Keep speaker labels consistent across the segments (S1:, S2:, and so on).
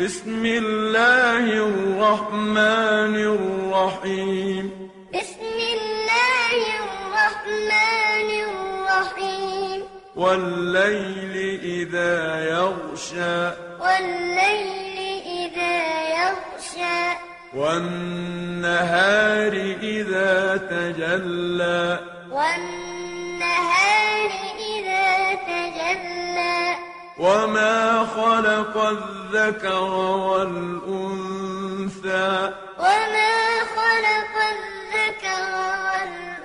S1: بسم الله الرحمن الرحيم
S2: بسم الله الرحمن الرحيم
S1: والليل إذا يغشى
S2: والليل إذا يغشى
S1: والنهار إذا تجلى
S2: والنهار إذا تجلى
S1: وما خلق الذكر والأنثى
S2: وما خلق الذكر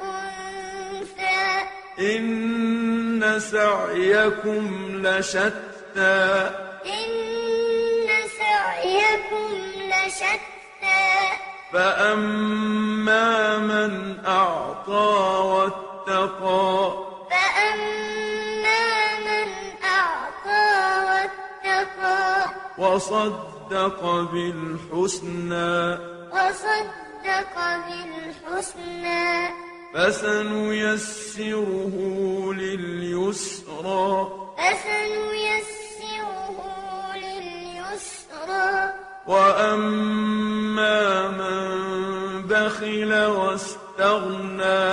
S2: والأنثى
S1: إن سعيكم لشتى
S2: إن سعيكم لشتى
S1: فأما من أعطى واتقى
S2: فأما من أعطى واتقى
S1: وصدق بالحسنى
S2: وصدق بالحسنى
S1: فسنيسره لليسرى
S2: فسنيسره لليسرى
S1: وأما من بخل واستغنى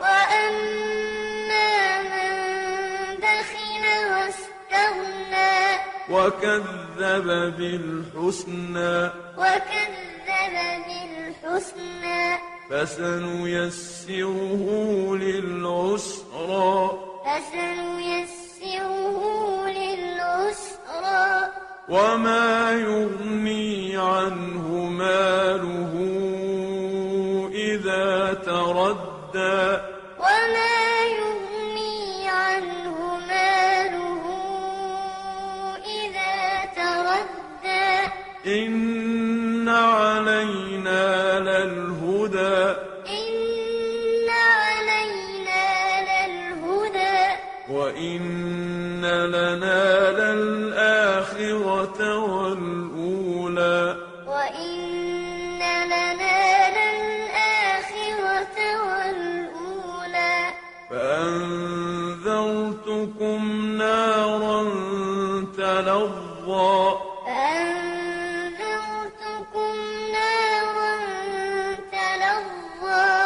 S2: وأما من بخل واستغنى
S1: وكذب بالحسنى
S2: وكذب بالحسنى
S1: فسنيسره للعسرى
S2: فسنيسره للعسرى
S1: وما يغني عنه ماله إذا تردى
S2: وما يغني عنه ماله إذا تردى
S1: إن علينا للهدى
S2: إن علينا للهدى
S1: وإن لنا للآخرة والأولى
S2: وإن لنا للآخرة والأولى
S1: فأنذرتكم نارا تلظى
S2: فأنذرتكم نارا تلظى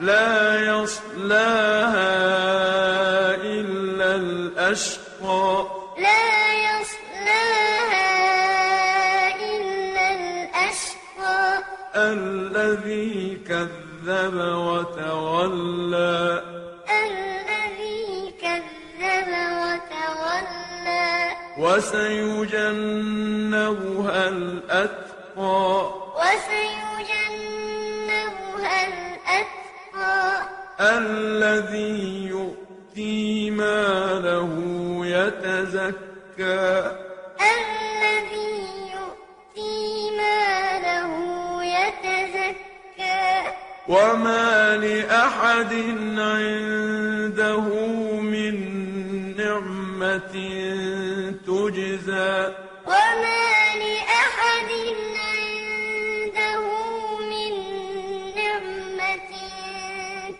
S1: لا يصلاها إلا الأشقى
S2: لا يصلاها إلا الأشقى
S1: الذي كذب وتولى
S2: الذي كذب وتولى
S1: وسيجنبها الأتقى
S2: وسيجنبها الأتقى
S1: الذي يؤتي ماله يتزكى
S2: الذي يؤتي ماله يتزكى
S1: وما لأحد عنده من نعمة تجزى
S2: وما لأحد عنده من نعمة